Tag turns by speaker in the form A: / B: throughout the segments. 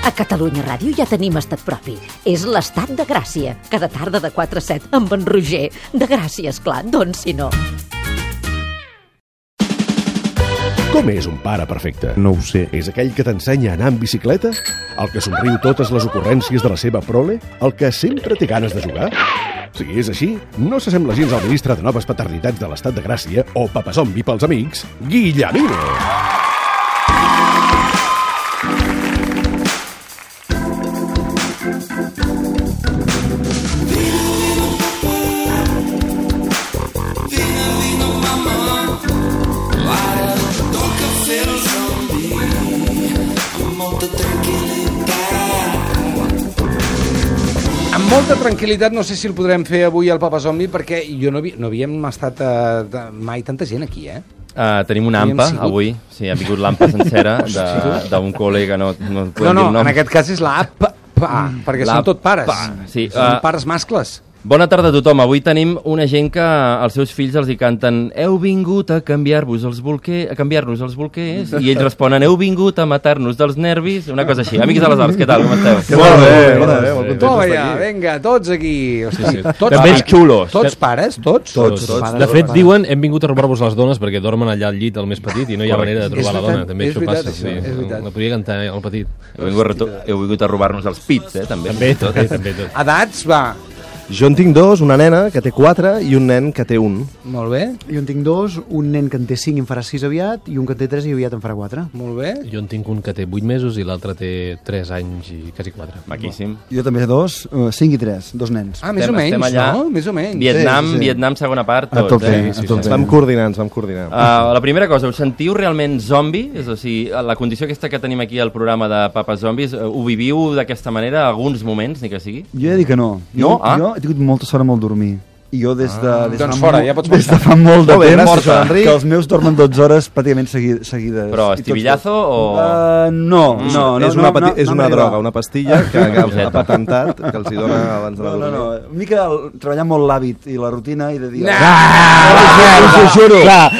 A: A Catalunya Ràdio ja tenim estat propi. És l'estat de Gràcia. Cada tarda de 4 a 7 amb en Roger. De Gràcia, esclar, doncs si no.
B: Com és un pare perfecte?
C: No ho sé.
B: És aquell que t'ensenya a anar amb bicicleta? El que somriu totes les ocurrències de la seva prole? El que sempre té ganes de jugar? Si és així, no s'assembla gens al ministre de Noves Paternitats de l'Estat de Gràcia o papazombi pels amics, Guillemino.
D: Amb molta tranquil·litat, no sé si el podrem fer avui al Papa Zombi, perquè jo no, vi, no havíem estat uh, mai tanta gent aquí, eh?
C: Uh, tenim una
D: Havíem
C: ampa
D: sigut-
C: avui, sí, ha vingut l'ampa sencera de- d'un col·lega, no, no en
D: No,
C: podem
D: no,
C: dir el nom. Mm.
D: en aquest cas és la APA, perquè
C: la
D: són tot pares.
C: pa, sí,
D: són
C: eh,
D: pares mascles.
C: Bona tarda a tothom, avui tenim una gent que als seus fills els hi canten heu vingut a canviar-vos els bolquer, a canviar-nos els bolquers, i ells responen heu vingut a matar-nos dels nervis, una cosa així. Amics de les arts, què tal, com esteu? molt
E: Molt bé, molt
C: bé,
E: bé,
C: molt
E: molt
C: contents
D: Toma
E: contents
D: ja, vinga, tots aquí. Hosti, sí, sí. Tots,
C: De més xulos.
D: Tots pares, tots?
E: Tots, tots. De fet, diuen, hem vingut a robar-vos les dones perquè dormen allà al llit, el més petit, i no hi ha
C: Correcte.
E: manera de
D: És
E: trobar la dona.
D: veritat,
E: També
D: és
E: això
D: veritat,
E: passa,
D: això,
E: sí.
D: és veritat.
E: La podia cantar eh, el petit.
C: Heu vingut, a reto- heu vingut a robar-nos els pits, eh, també.
E: Bé, tot, eh, també tot.
D: Edats, va.
F: Jo en tinc dos, una nena que té quatre i un nen que té un.
D: Molt bé,
G: Jo en tinc dos, un nen que en té 5 i en farà 6 aviat, i un que en té 3 i aviat en farà 4.
D: molt bé.
E: Jo en tinc un que té 8 mesos i l'altre té 3 anys i quasi 4.
C: Maquíssim.
H: Jo també dos, 5 i 3, dos nens.
D: Ah, més o
C: Estem-
D: menys,
C: estem allà.
D: no? Més o menys.
C: Vietnam,
H: Sí, sí, sí.
C: Vietnam, segona part,
H: A
C: tots,
H: tope,
C: eh?
H: a tope.
F: Ens vam coordinar, ens vam coordinar.
C: Uh, la primera cosa, us sentiu realment zombi? És a dir, la condició aquesta que tenim aquí al programa de Papa Zombis, eh, ho viviu d'aquesta manera alguns moments, ni que sigui?
H: Jo he de dir que no.
C: No?
H: Jo,
C: Ah.
H: jo he tingut molta sort amb el dormir. I jo des de...
F: Ah.
H: des de
D: Doncs
H: fa
D: fora,
H: molt-
D: ja pots
H: Des de
D: marxar.
H: fa molt de
F: Molt bé,
H: temps
F: gràcies, Joan Enric.
H: que els meus dormen 12 hores pràcticament segui- seguides.
C: Però
H: I tots
C: estibillazo
H: dos.
C: o-
H: Eh, no, no, no.
F: és
H: no,
F: una,
H: no,
F: pati- és
H: no
F: una
H: m'arriba.
F: droga, una pastilla que, que
C: Coseta.
F: ha patentat, que els hi dona abans d'anar
H: No,
F: a
H: no,
F: dormir.
H: no. Una mica el, treballar molt l'hàbit i la rutina i de "Ah, dia...
C: Ah,
E: Ah, Us ho juro. Clar,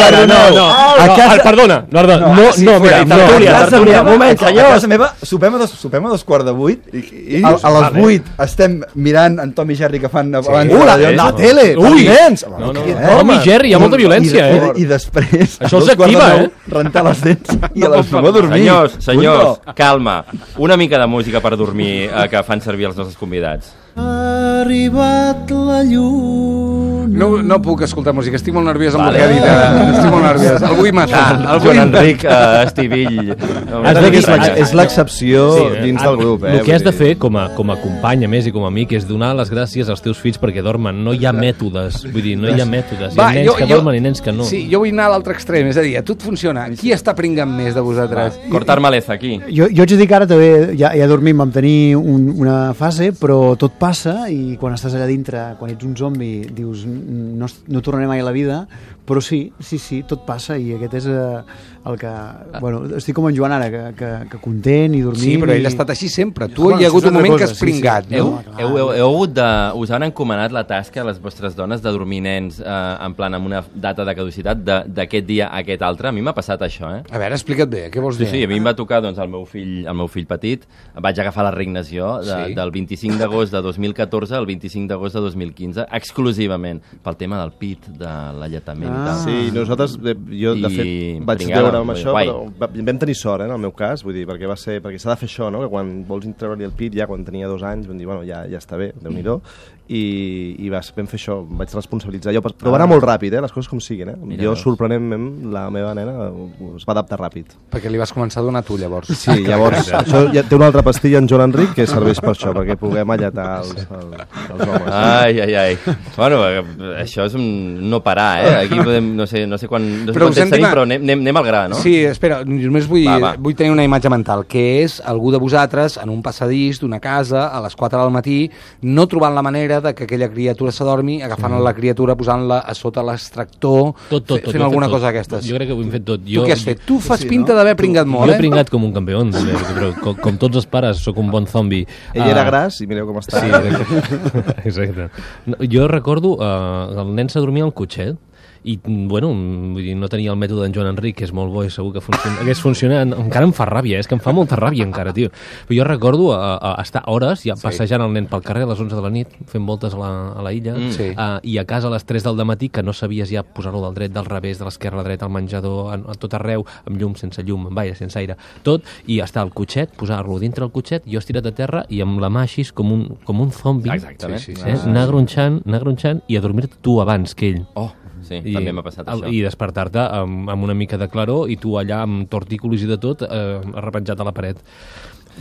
E: perdona, perdona, no, no.
H: A
E: No,
H: casa-
E: ah, Perdona, no, no, no,
H: sí,
E: no, mira,
H: fora,
E: no.
H: tertúlia, tertúlia, un moment,
C: senyors.
H: A casa meva sopem a dos, sopem a dos quarts de vuit, i,
F: i-
H: a, a les vuit estem mirant en Tom i Jerry que fan abans
E: Uh, la-
H: de-
E: la
H: tele,
D: Eh,
E: Ui!
H: nens!
E: No, no,
H: Què,
E: no. Tom i Jerry, hi ha molta
H: I-
E: violència,
H: i,
E: eh?
H: I, i després,
E: Això
H: a
E: els
H: dos quarts de
E: activa,
H: nou,
E: eh?
H: rentar les dents i a les nou a dormir.
C: Senyors, senyors,
H: Punto.
C: calma. Una mica de música per dormir eh, que fan servir els nostres convidats.
D: No, no puc escoltar música, estic molt nerviós amb
C: Vale. Ah,
D: el que ha dit ara. Estic molt nerviós, el vull matar.
F: Ah,
D: El vull
C: Joan
D: matar.
C: Enric eh, Estivill.
E: Has de
F: Crec que és
E: Mira,
F: l'ex-
E: eh,
F: és l'excepció
E: eh,
F: dins del grup. Eh?
E: El que
F: vull
E: has de
F: dir.
E: fer com a, com a company, a més, i com a amic, és donar les gràcies als teus fills perquè dormen. No hi ha mètodes, vull dir, no hi ha mètodes. hi ha nens que dormen i nens que no.
D: Sí, jo vull anar a l'altre extrem, és a dir, a tu et funciona. Qui està pringant més de vosaltres?
C: Cortar maleza, aquí.
G: Jo, jo haig de dir que ara també ja, ja dormim, vam tenir un, una fase, però tot passa i quan estàs allà dintre, quan ets un zombi, dius "Mm, no, es- no tornaré mai a la vida, però sí, sí, sí, tot passa i aquest és eh, el que... Bueno, estic com en Joan ara, que, que, que content i dormint...
D: Ah. Sí, però ell
G: i...
D: ha estat així sempre. Tu
G: Bueno,
D: hi ha
G: això
D: hagut
G: és
D: un
G: una
D: moment
G: cosa,
D: que has
G: sí, sí.
D: pringat,
G: Heu-
D: no?
G: clar.
C: Heu, heu, heu hagut de... Us han encomanat la tasca a les vostres dones de dormir nens eh, en plan amb una data de caducitat de- d'aquest dia a aquest altre? A mi m'ha passat això, eh?
D: A veure, explica't bé, què vols
C: Sí,
D: dir?
C: sí, a mi em va tocar doncs, el, meu fill, el meu fill petit, vaig agafar les regnes jo, de,
D: Sí.
C: sí. del 25 d'agost de 2014 al 25 d'agost de 2015, exclusivament pel tema del pit, de l'alletament ah. i tal.
F: Sí, nosaltres, eh, jo de
C: I
F: fet vaig
C: pringada,
F: veure amb
C: vull dir,
F: això,
C: guai.
F: però va- vam tenir sort, eh, en el meu cas, vull dir, perquè va ser, perquè s'ha de fer això, no? que quan vols treure-li el pit, ja quan tenia dos anys, vam dir, bueno, ja, ja està bé, déu nhi i, i vas, vam fer això, em vaig responsabilitzar jo, però va anar molt ràpid, eh, les coses com siguin, eh?
C: Ah. Mira,
F: jo,
C: veus.
F: sorprenentment, la meva nena eh, es va adaptar ràpid.
D: Perquè li vas començar a donar tu, llavors. Ah,
C: Ah,
F: Sí, llavors, això ja té una altra pastilla en Joan Enric que serveix per això, perquè puguem alletar els, els, els homes.
C: Ai, ai, ai. Bueno, eh, això és un no parar, eh? Aquí podem, no sé, no sé quan... No sé
D: Però us
C: quan
D: hem
C: temps tenim,
D: dima-
C: però anem, anem, anem al gra, no?
D: Sí, espera, només vull,
C: Va, va.
D: vull tenir una imatge mental, que és algú de vosaltres en un passadís d'una casa a les 4 del matí, no trobant la manera de que aquella criatura s'adormi, agafant la criatura, posant-la a sota l'extractor,
E: tot, tot, tot,
D: fent
E: jo he
D: alguna
E: fet tot.
D: cosa d'aquestes.
E: Jo crec que ho hem fet tot.
D: Tu
E: Jo,
D: què has fet? Tu fas pinta d'haver pringat
E: Jo
D: molt,
E: he
D: eh?
E: pringat com un campió, però com, com tots els pares, sóc un bon zombi. Ah.
F: Ell
C: Ah.
F: era gras i mireu com està.
E: Sí, exacte. No, jo recordo, eh, el nen s'adormia al cotxet i, mm, bueno, mm, vull dir, no tenia el mètode d'en Joan Enric, que és molt bo i segur que funciona, hagués funcionat. Encara em fa ràbia, eh, és que em fa molta ràbia encara, tio. Però jo recordo a, a estar hores ja passejant el nen pel carrer a les 11 de la nit, fent voltes a la, a la illa,
D: Sí.
E: mm. uh, i a casa a les 3 del matí que no sabies ja posar-ho del dret, del revés, de l'esquerra a la dreta, al menjador, a, a tot arreu, amb llum, sense llum, amb aire, sense aire, tot, i estar al cotxet, posar-lo dintre el cotxet, jo estirat a terra i amb la mà així com un, com un zombi,
C: Exactament.
E: Sí, sí, sí. Eh? anar gronxant, anar gronxant i a dormir tu abans que ell.
C: Oh, sí, I, també m'ha passat
E: al-
C: això.
E: I despertar-te amb, amb una mica de claror i tu allà amb tortícolis i de tot eh, arrepenjat a la paret.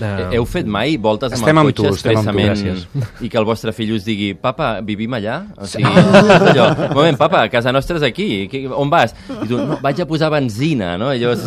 E: Eh,
C: Heu fet mai voltes amb
D: Estem
C: el
D: amb
C: cotxe
D: tu, estem amb tu,
C: expressament i que el vostre fill us digui papa, vivim allà? O sigui, allò, un moment, papa, casa nostra és aquí, qui- on vas? I tu, no, vaig a posar benzina, no? I llavors,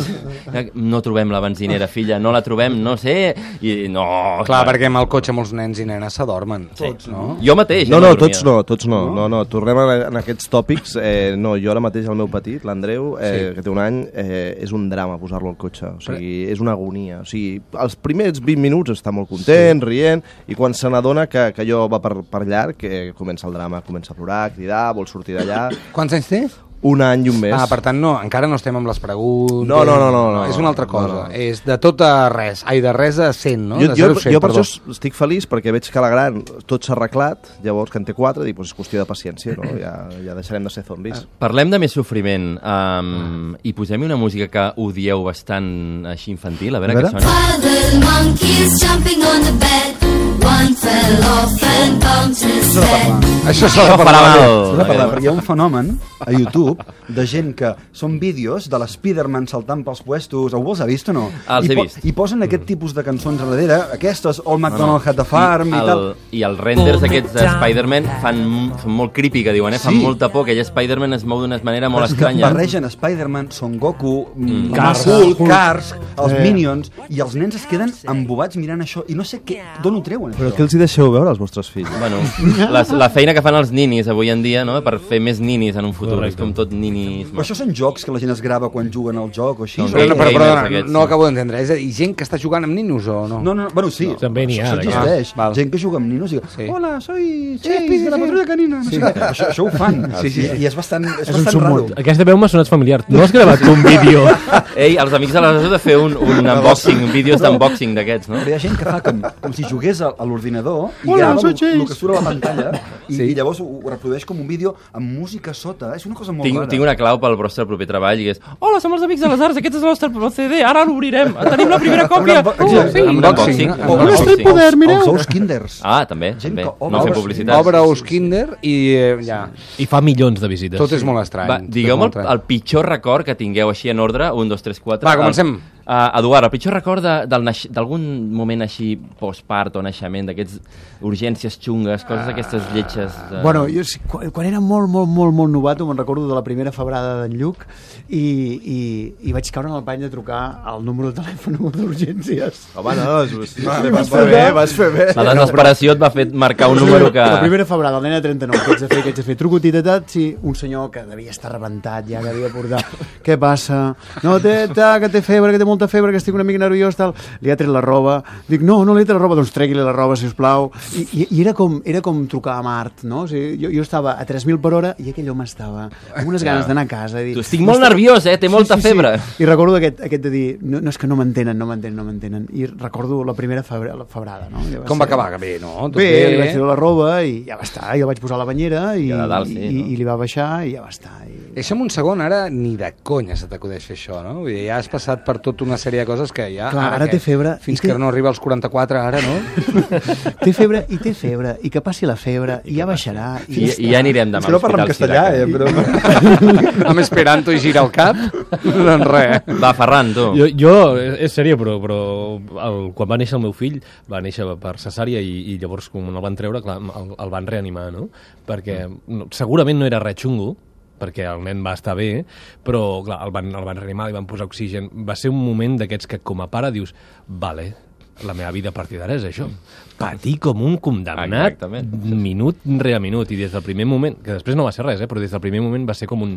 C: no trobem la benzinera, filla, no la trobem, no sé, i no...
D: Clar, perquè amb el cotxe molts nens i nenes s'adormen. Tots, no?
C: Jo mateix.
F: No,
C: eh,
F: no,
C: dormia.
F: tots no, tots no. No, no, tornem a, en aquests tòpics. Eh, no, jo ara mateix el meu petit, l'Andreu, eh, sí. que té un any, eh, és un drama posar-lo al cotxe. O sigui, és una agonia. O sigui, els primers 20 minuts està molt content, sí. rient, i quan se n'adona que, que allò va per, per llarg, eh, comença el drama, comença a plorar, a cridar, vol sortir d'allà...
D: Quants anys té?
F: Un any i un mes.
D: Ah, per tant, no, encara no estem amb les preguntes.
F: No, no, no, no, no.
D: És una altra
F: No,
D: cosa.
F: no.
D: És de tot a res. Ai, de res a 100, no?
F: Jo,
D: de
F: jo,
D: 0 a 100,
F: jo per
D: perdó.
F: això estic feliç perquè veig que la gran tot s'ha arreglat, llavors que en té quatre, dic, pues és qüestió de paciència, no? ja, ja deixarem de ser zombis.
C: Parlem de més sofriment um, i posem una música que odieu bastant així infantil, a veure,
F: A veure.
C: què sona.
I: While the monkeys jumping on the bed, one fell off and bumped his head.
D: Això s'ha de
C: Farà
D: parlar.
C: mal.
H: S'ha de parlar, perquè hi ha un fenomen a YouTube de gent que són vídeos de l'Spiderman saltant pels puestos. Algú els ha vist o no?
C: Els
H: I
C: he vist.
H: I posen aquest tipus de cançons a darrere, aquestes, o el McDonald's Hat de Farm i,
C: el,
H: tal.
C: I els renders aquests de Spider-Man fan, són molt creepy, que diuen, eh? Fan
H: Sí.
C: molta por, que ja Spider-Man es mou d'una manera molt eh?
H: Però és que
C: estranya.
H: Barregen Spider-Man, Son Goku, mm.
E: Cars.
H: Hulk, Cars, els
F: Eh.
H: Minions, i els nens es queden embobats mirant això, i no sé què, d'on ho treuen,
F: Però
H: això.
F: què els hi deixeu veure als vostres fills?
C: Bueno, la, la feina que fan els ninis avui en dia, no?, per fer més ninis en un futur, és com tot ninisme.
H: Però això són jocs que la gent es grava quan juguen al joc o així?
C: Doncs
H: o-
D: Però, no, però,
C: Gamers
D: perdona,
C: aquests,
D: no
C: sí.
D: acabo d'entendre. És a dir, gent que està jugant amb ninos o no?
H: No, no, no, bueno, sí. No.
E: També n'hi ha,
H: Això
E: d'aquests.
H: existeix.
D: Ah, val.
H: gent que juga amb ninos i
D: Sí.
H: sí. hola, soy Chase, de la patrulla canina. No sí. sé què. Això, això ho fan. Sí, sí, I és bastant, és
G: un
H: bastant raro.
G: submón.
E: Aquesta veu m'ha sonat familiar. No has gravat tu un vídeo?
C: Ei, els amics de la Rosa de fer un, un unboxing, vídeos d'unboxing d'aquests, no?
H: Però hi ha gent que fa com, com si jugués a, a l'ordinador i grava el, el que surt a la pantalla i, sí. i llavors ho, ho reprodueix com un vídeo amb música sota. És una cosa molt
C: Tinc,
H: rara.
C: tinc una clau pel vostre proper treball i és Hola, som els amics de les arts, aquest és el nostre CD, ara l'obrirem, tenim la primera còpia.
H: unboxing.
C: Uh, sí.
D: Unboxing,
C: Unboxing.
D: no?
H: O,
D: Un
H: o,
C: Unboxing.
H: o, mireu. Els ous kinders.
C: Ah, també,
H: Gent
C: també.
H: que obre-
C: No fer
H: obre-
C: publicitat.
D: Obra-us Kinder i eh, ja.
E: I fa milions de visites.
D: Tot és molt estrany.
C: Va,
D: tot és
C: digueu-me
D: molt
C: el,
D: estrany.
C: el pitjor record que tingueu així en ordre, 1, 2, 3, 4...
D: Va, comencem.
C: El, uh, Eduard, el pitjor record de- del naix- d'algun moment així postpart o naixement, d'aquests urgències xungues, coses d'aquestes lletges... De...
G: Bueno, jo, sí, quan, quan era molt, molt, molt, molt novato, me'n recordo de la primera febrada d'en Lluc i, i, i vaig caure en el pany de trucar al número de telèfon d'urgències.
F: Home, no, és, vas fer bé, vas fer bé.
C: La desesperació et va fer marcar un número que...
G: La primera febrada, el nen de 39, què ets a fer, què ets a fer? Truco titetat, sí, un senyor que devia estar rebentat ja, que havia portat. Què passa? No, té, ta, que té febre, que té molta febre, que estic una mica nerviós, tal. Li ha tret la roba. Dic, no, no li he tret la roba, doncs tregui-li la roba, si us plau. I, i, i era, com, era com trucar a Mart, no? O sigui, jo, jo estava a 3.000 per hora i aquell home estava amb unes ganes d'anar a casa. i Dir,
C: Tu, estic molt
G: "Ostres,
C: nerviós, eh? Té molta febre."
G: I recordo aquest, aquest de dir, no, no és que no m'entenen, no m'entenen, no m'entenen. I recordo la primera febre, la febrada, no? Ja
D: Com
G: ser-
D: va acabar? Que Bé, no? Tot
G: Bé, li vaig treure la roba i ja va estar, jo vaig posar a la banyera i,
C: I a dalt, sí,
G: i,
C: no?
G: i li va baixar i ja va estar. I...
D: Deixa'm un segon, ara ni de conya se t'acudeix fer això, no? Vull dir, ja has passat per tota una sèrie de coses que ja...
G: Clar, ara
D: què?
G: té febre.
D: Fins
G: I té-
D: que no arriba als 44, ara, no?
G: Té febre i té febre, i que passi la febre, i ja baixarà.
C: I, I ja anirem demà
H: És que no parla en castellà, eh, però...
D: Amb esperanto i gira el cap? doncs res.
C: eh? Va, Ferran, tu.
E: Jo, jo eh, és, és sèrio, però, però el, quan va néixer el meu fill, va néixer per cesària i, i llavors com el van treure, clar, el, el van reanimar, no? Perquè no, segurament no era res xungo, perquè el nen va estar bé, però clar, el van, el van reanimar, li van posar oxigen. Va ser un moment d'aquests que com a pare dius, vale, la meva vida a partir d'ara és això. Patir com un condemnat
C: Exactament.
E: minut rere minut i des del primer moment, que després no va ser res, eh, però des del primer moment va ser com un,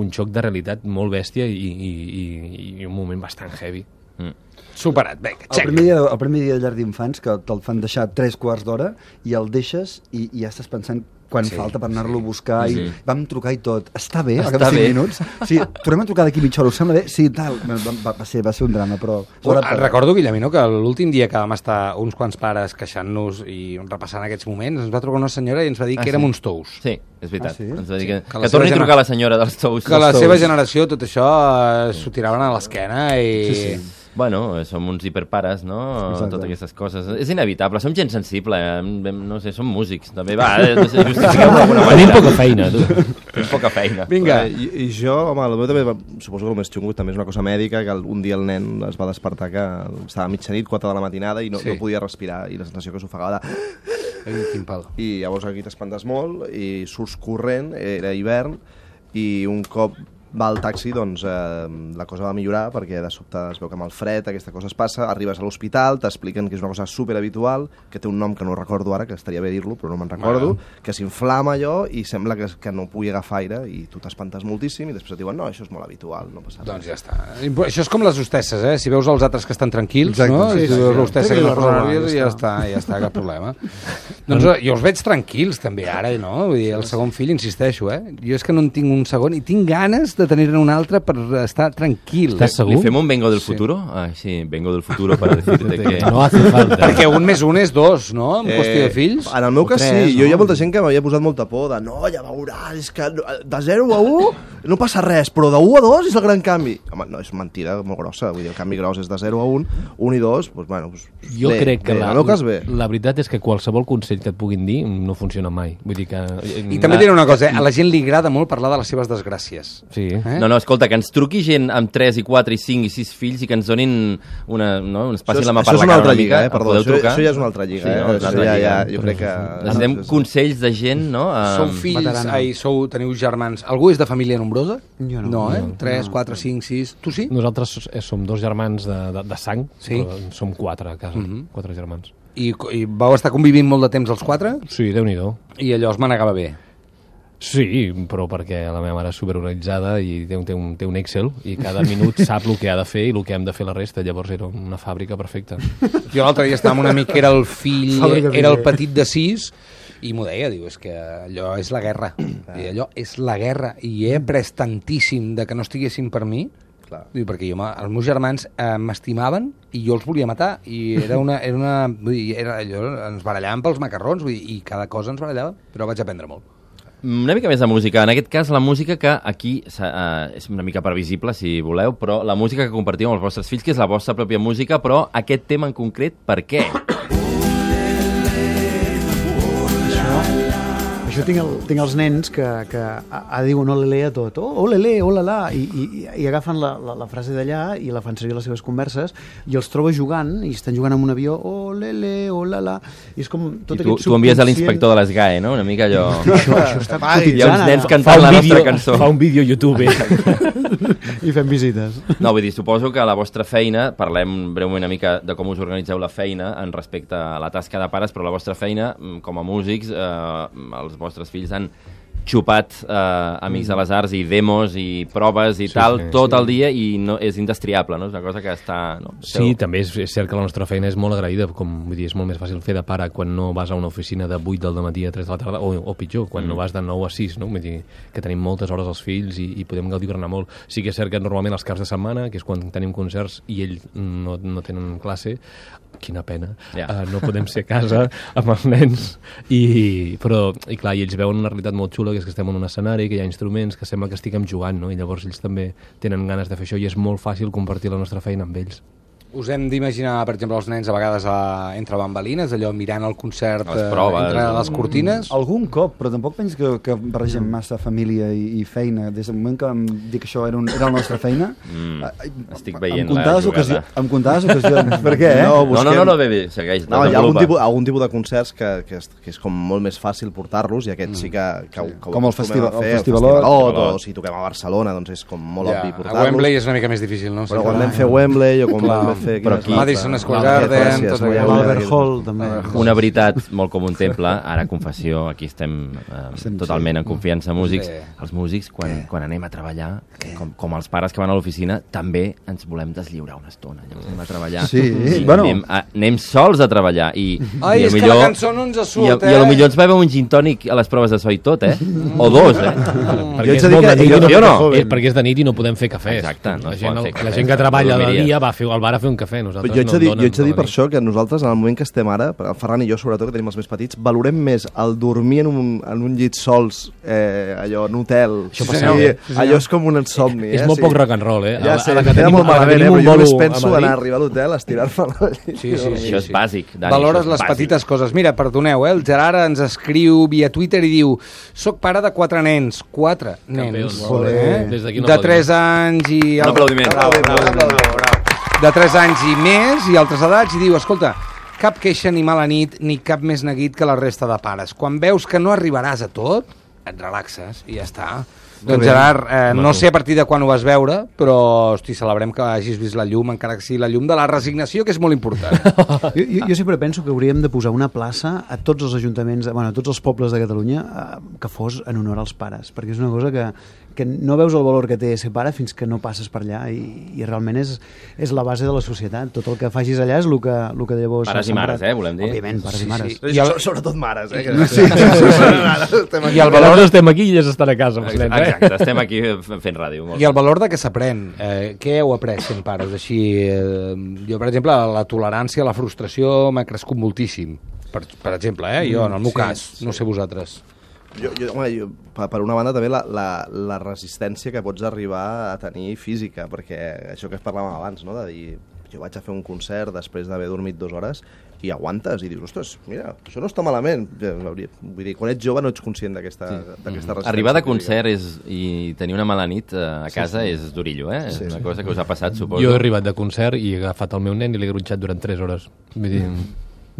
E: un xoc de realitat molt bèstia i, i, i, i un moment bastant heavy.
D: Superat, vinga,
H: El
D: check.
H: primer, dia, el primer dia de llar d'infants que te'l fan deixar tres quarts d'hora i el deixes i, i ja estàs pensant quan sí, falta per anar-lo a buscar sí. i vam trucar i tot. Està bé,
C: Està
H: al cap de
C: bé.
H: 5 minuts? Sí, tornem a trucar d'aquí mitja hora, us sembla bé? Sí, tal. Va, va, va, ser, va ser un drama, però...
D: Bueno, recordo, Guillemino, que l'últim dia que vam estar uns quants pares queixant-nos i repassant aquests moments, ens va trucar una senyora i ens va dir
C: Ah,
D: ah, que érem
C: sí.
D: uns tous.
C: Sí, és veritat.
H: Ah, sí?
C: Ens va dir que,
D: que la
C: que,
D: seva
C: torni a
D: gena-
C: trucar a la senyora dels tous.
D: Que la
C: Dels
D: seva
C: tous.
D: generació tot això eh, s'ho tiraven a l'esquena i... Sí, sí.
C: Bueno, eh, som uns hiperpares, no?
H: Exacte.
C: Totes aquestes coses. És inevitable, som gent sensible, eh? Em- no sé, som músics, també. Va, eh, no sé, justifiqueu d'alguna manera.
E: Tenim poca feina, tu.
C: Tenim poca feina.
D: Vinga.
F: I, I jo, home, el meu també, va- suposo que el més xungo també és una cosa mèdica, que el, un dia el nen es va despertar que estava a mitjanit, 4 de la matinada, i no,
D: Sí.
F: sí. no podia respirar, i la sensació que s'ofegava de...
D: Ai, quin pal.
F: I llavors aquí t'espantes molt, i surts corrent, eh, era hivern, i un cop va al taxi, doncs eh, la cosa va millorar, perquè de sobte es veu que amb el fred aquesta cosa es passa, arribes a l'hospital, t'expliquen que és una cosa superhabitual, que té un nom que no recordo ara, que estaria bé dir-lo, però no me'n recordo, que s'inflama allò i sembla que, que no pugui agafar aire i tu t'espantes moltíssim i després et diuen no, això és molt habitual, no passa res.
D: Doncs ja està. Impo- Això és com les hostesses, eh? Si veus els altres que estan tranquils,
H: Exacte,
D: no?
H: sí,
D: si
H: sí,
D: veus
H: sí.
D: l'hostessa que
H: Tregui
D: no
H: la
D: posa
H: roba,
D: nerviós,
H: ja
D: ja està, ja està, cap problema. doncs eh, jo els veig tranquils, també, ara, no? Vull dir, el segon fill, insisteixo, eh? Jo és que no en tinc un segon i tinc ganes de tenir-ne un altre per estar tranquil.
E: Estàs segur?
C: Li fem un vengo del futuro? Ah, sí, vengo del futuro para decirte que...
E: No hace falta.
D: Perquè un més un és dos, no?
F: Eh,
D: En qüestió de fills.
F: En el meu
D: O
F: cas
D: tres,
F: sí, jo hi ha molta gent que m'havia posat molta por de no, ja veuràs, és que no- de 0 a 1 no passa res, però de 1 a 2 és el gran canvi. Home, no, és mentida molt grossa, vull dir, el canvi gros és de 0 a 1, 1 i 2, doncs bueno, doncs,
E: Jo
F: bé,
E: crec que
F: bé,
E: la,
F: en el meu cas bé.
E: la veritat és que qualsevol consell que et puguin dir no funciona mai. Vull dir que...
D: I també diré una cosa, eh? a la gent li agrada molt parlar de les seves desgràcies.
E: Sí.
D: Eh?
C: No, no, escolta, que ens truqui gent amb 3 i 4 i 5 i 6 fills i que ens donin una, no, ens passin la mà per
F: és
C: la
F: una
C: cara
F: altra
C: una
F: lliga,
C: mica.
F: eh? Perdó,
C: podeu
F: això,
C: trucar?
F: això ja és una altra Ah, lliga,
C: Sí, no,
F: eh?
C: és una
F: Això
C: altra
F: ja, ja,
C: lliga.
F: jo crec que...
C: Necessitem consells de gent, no?
D: Sou
C: Em-
D: fills,
G: veterana.
D: ai, sou, teniu germans... Algú és de família nombrosa?
G: Jo no.
D: No, eh? 3, 4, 5, 6... Tu sí?
E: Nosaltres eh, som dos germans de, de, de sang,
D: Sí. Mhm.
E: però som quatre a casa, quatre germans.
D: I, co- I vau estar convivint molt de temps els quatre
E: Sí, déu nhi
D: i allò es manegava bé.
E: Sí, però perquè la meva mare és superorganitzada i té un, té, un, té un Excel i cada minut sap el que ha de fer i el que hem de fer la resta. Llavors era una fàbrica perfecta.
D: Jo l'altre dia estava amb un amic que era el fill,
G: Fàbrica
D: era el
G: Pinter.
D: petit de 6 i m'ho deia, diu, és que allò és la guerra. I allò és la guerra i he après tantíssim de que no estiguessin per mi
F: Clar.
D: Diu, perquè jo, ma- els meus germans eh, m'estimaven i jo els volia matar. I era una... Era una vull dir, era allò, ens barallàvem pels macarrons vull dir, i cada cosa ens barallava, però vaig aprendre molt.
C: Una mica més de música. En aquest cas, la música que aquí s'ha- eh, és una mica previsible, si voleu, però la música que compartiu amb els vostres fills, que és la vostra pròpia música, però aquest tema en concret, per què?
G: Això tinc, el, tinc els nens que, que a, a diuen olele a tot, oh, olele, olala, i, i, i agafen la, la, la frase d'allà i la fan servir a les seves converses i els troba jugant, i estan jugant amb un avió, olele, olala, i és com
C: I
G: tot
C: tu,
G: aquest
C: tu envies a l'inspector de les GAE, no? Una mica allò...
G: Això, això està
C: Hi ha uns
G: cotitzant
C: nens
G: ara.
C: cantant la nostra cançó.
E: Fa un vídeo a YouTube.
G: I fem visites.
C: No, vull dir, suposo que la vostra feina, parlem breument una mica de com us organitzeu la feina en respecte a la tasca de pares, però la vostra feina, mm, com a músics, eh, els vostres fills han xupat eh, Amics
F: Mm.
C: de les Arts i demos i proves i sí, tal sí, tot sí. el dia i no, és indestriable, no? És una cosa que està... No?
E: Sí, també és, és cert que la nostra feina és molt agraïda, com vull dir, és molt més fàcil fer de pare quan no vas a una oficina de 8 del matí a 3 de la tarda, o, o pitjor, quan mm. no vas de 9 a 6, no? Vull dir, que tenim moltes hores als fills i, i podem gaudir-ne molt. Sí que és cert que normalment els caps de setmana, que és quan tenim concerts i ells no, no tenen classe, quina pena,
C: Ja.
E: yeah. uh, no podem ser a casa amb els nens i, però, i clar, i ells veuen una realitat molt xula que és que estem en un escenari, que hi ha instruments que sembla que estiguem jugant, no? i llavors ells també tenen ganes de fer això i és molt fàcil compartir la nostra feina amb ells
D: Us hem d'imaginar, per exemple, els nens a vegades a, entre bambalines, allò mirant el concert
C: Les
D: eh,
C: proves,
D: entre
C: no?
D: les cortines?
F: Mm.
H: Algun cop, però tampoc penso que, que barregem massa família i, i feina. Des del moment que em dir que això era, un, era la nostra feina...
C: Mm,
H: eh, eh,
C: estic veient
H: amb comptades
C: la jugada.
H: ocasions- Amb comptades ocasions. per què, eh?
F: No,
C: No, no,
F: busquem-
C: no, no, bé, bé, segueix.
F: No, hi ha algun
C: desenvolupa.
F: tipus, algun tipus de concerts que, que, és, que és com molt més fàcil portar-los i
D: Mm,
F: aquest sí que, que, ho- que ho
H: Com el
F: acostumem
H: festival-
F: a fer,
H: el festivalot.
F: festivalot, o si toquem a Barcelona, doncs és com molt obvi
D: a
F: portar-los.
D: Wembley és una mica més difícil, no? Sí,
F: Però
D: clar.
F: quan vam fer Wembley o quan
D: Clar,
F: vam fer...
C: Però
F: quines
C: aquí-
F: la-
D: Madison Square
F: Gràcies,
D: Garden, tot
F: Maria
D: allò.
F: Eulàlia.
G: Albert Hall, també.
D: Doncs.
C: Una veritat molt com un temple, ara confessió, aquí estem eh,
H: Estem,
C: totalment en confiança músics.
D: Eh.
C: Els músics, quan, quan anem a treballar, com, com els pares que van a l'oficina, també ens volem deslliurar una estona. Llavors anem a treballar.
H: Sí,
C: I
H: bueno.
C: anem, a, anem sols a treballar. I,
D: eh? Ai,
C: i a
D: és que la cançó no ens surt,
C: i, a, I a
D: eh?
C: lo millor ens va veure un gin tònic a les proves de so i tot, eh? O dos, eh?
E: Perquè
F: haig
E: és
F: de dir
E: molt
F: que
E: de nit,
F: jo
E: i no,
F: no-
E: jo no.
F: joven.
E: Eh, perquè és de nit i no podem fer cafès.
C: Exacte, no
E: la,
C: es
E: gent,
C: poden
E: el-
C: fer
E: la
C: cafès,
E: gent que treballa de
C: dormiries.
E: dia va fer, al bar a fer un cafè, nosaltres
F: Però jo haig
E: no
F: de
E: en
F: dir,
E: donen.
F: jo haig de dir
E: no
F: per
E: donen.
F: això que nosaltres, en el moment que estem ara, el Ferran i jo, sobretot, que tenim els més petits, valorem més el dormir en un, en un llit sols, eh, allò, en un hotel.
E: Això passa, eh?
F: sí, allò és com un insomni.
E: És
F: eh?
E: molt poc rock and roll, eh? A
F: Ja
E: la-
F: sé,
E: a la que
F: queda
E: tenim-
F: molt
E: a la que
F: malament, eh?
E: tenim
F: Però
E: un
F: jo només
E: bolo a
F: penso en
E: Madrid.
F: arribar a l'hotel, estirar-me al llit.
D: Sí, sí, sí,
C: Això és
D: sí.
C: bàsic, Dani,
D: Valores
C: això és
D: les
C: bàsic.
D: petites coses. Mira, perdoneu, eh? el Gerard ens escriu via Twitter i diu «Soc pare de quatre nens». Quatre nens.
E: Campions.
D: Eh?
E: Des d'aquí un
D: de
E: aplaudiment.
D: 3 anys i...
C: Un aplaudiment.
D: de 3 anys i més i altres edats i diu, escolta, cap queixa ni mala nit ni cap més neguit que la resta de pares. Quan veus que no arribaràs a tot, et relaxes i ja està. Doncs Gerard, eh, no sé a partir de quan ho vas veure, però hosti, celebrem que hagis vist la llum, encara que sigui la llum de la resignació, que és molt important.
G: Jo, jo, jo sempre penso que hauríem de posar una plaça a tots els ajuntaments, de- bueno, a tots els pobles de Catalunya, eh, que fos en honor als pares, perquè és una cosa que, que no veus el valor que té ser pare fins que no passes per allà i, i realment és, és la base de la societat. Tot el que facis allà és el que, el que llavors...
C: Pares
G: s'ha
C: i mares,
G: sembrat.
C: eh, volem dir.
G: Òbviament, pares sí, i mares. Sí.
D: I el-
F: Sobretot mares, eh? Que... Sí, sí, sí.
D: I el valor
E: Nosaltres estem aquí i ells estan a casa. els nens, eh?
C: Exacte, estem aquí fent ràdio. Molt.
D: I el valor de que s'aprèn. Eh, què heu après sent pares? Així, eh, jo, per exemple, la tolerància, la frustració m'ha crescut moltíssim. Per, per exemple, eh? jo, en el meu sí, cas, sí. no sé vosaltres.
F: Jo, jo, home, jo, per, per una banda també la, la, la resistència que pots arribar a tenir física, perquè això que parlàvem abans, no? de dir, jo vaig a fer un concert després d'haver dormit dues hores i aguantes i dius, ostres, mira, això no està malament. Ja, hauria- Vull dir, quan ets jove no ets conscient d'aquesta sí. resistència.
C: Mm-hmm. Arribar de
F: física.
C: concert és, i tenir una mala nit eh, a casa és durillo, eh? És una cosa que us ha passat, suposo.
E: Jo he arribat de concert i he agafat el meu nen i l'he gronxat durant 3 hores. Vull dir,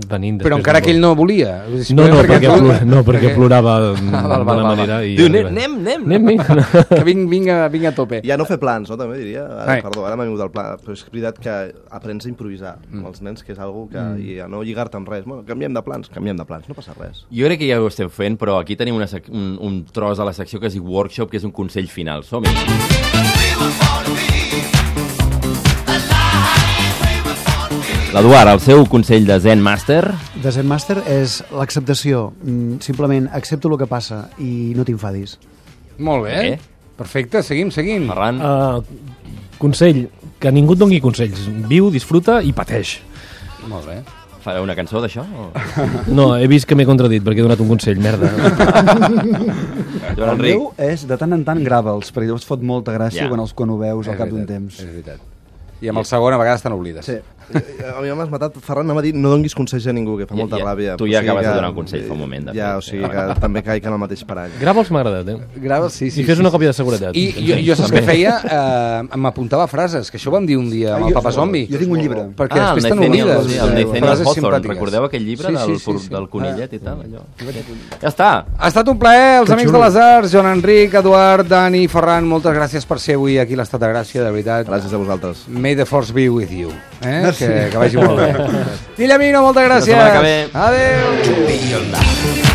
E: venint
D: Però encara que ell no volia.
E: No, no, perquè, plora, no, perquè plorava
D: val,
E: d'una
D: val, val.
E: manera. I
C: Diu,
E: arriba-
C: "Anem, anem, anem."
E: anem.
D: Que vinc, vinga, vinga a tope.
F: Ja no fer plans, no? També diria. Ara,
D: Ai.
F: perdó, ara m'ha vingut el pla. Però és veritat que aprens a improvisar
C: Mm.
F: amb els nens, que és algo que... I a no lligar-te amb res. Bueno, canviem de plans, canviem de plans, no passa res.
C: Jo crec que ja ho estem fent, però aquí tenim una sec- un, un tros a la secció que es diu workshop, que és un consell final. Som-hi! L'Eduard, el seu consell de Zen Master,
G: De Zen Master és l'acceptació. Mm, Simplement accepto el que passa i no t'infadis.
D: Molt bé.
C: Eh?
D: Perfecte, seguim, seguim.
C: Ferran,
E: Uh, consell, que ningú et doni consells. Viu, disfruta i pateix.
D: Molt bé.
C: farà una cançó d'això? o-
D: Ah.
E: No, he vist que m'he contradit perquè he donat un consell, merda.
C: Joan
H: El
C: Enric,
H: meu és de tant en tant grava'ls, perquè llavors fot molta gràcia
C: Ja.
H: quan, els, quan ho veus al cap d'un
D: veritat,
H: temps.
D: És veritat. I amb el segon a vegades te n'oblides.
H: Sí.
F: A mi m'has matat, Ferran m'ha dit no donguis consells a ningú, que fa
C: Ja,
F: molta
C: ja.
F: ràbia.
C: Tu
F: O
C: ja
F: sigui
C: acabes de
F: que-
C: donar un consell fa un moment, de
F: Ja,
C: fet.
F: o sigui que també caic en el mateix parany.
E: Grava'ls m'ha agradat, eh?
D: Grava, sí, sí.
E: I fes
D: sí,
E: una
D: sí.
E: còpia de seguretat.
D: I jo, jo saps què feia? Eh, M'apuntava frases, que això ho vam dir un dia amb el Papa Zombi.
H: jo tinc un llibre.
D: Perquè
C: ah, el
D: després te
C: Nathaniel,
D: n'oblides. eh?
C: sí, el Nathaniel
D: Frases
C: Hawthorne,
D: simpàtiques.
C: recordeu aquell llibre
D: Sí,
C: del,
D: sí, sí,
C: por-
D: sí. Ah.
C: del conillet i tal? Allò. Ja està!
D: Ha estat un plaer, els amics de les arts, Joan Enric, Eduard, Dani, Ferran, moltes gràcies per ser avui aquí a l'Estat de Gràcia, de veritat.
F: Gràcies a vosaltres.
D: May the force be with you. Eh? Que, que vagi molt bé. Guillemino, moltes gràcies.
C: setmana que ve.
D: Adéu.
I: Be your love.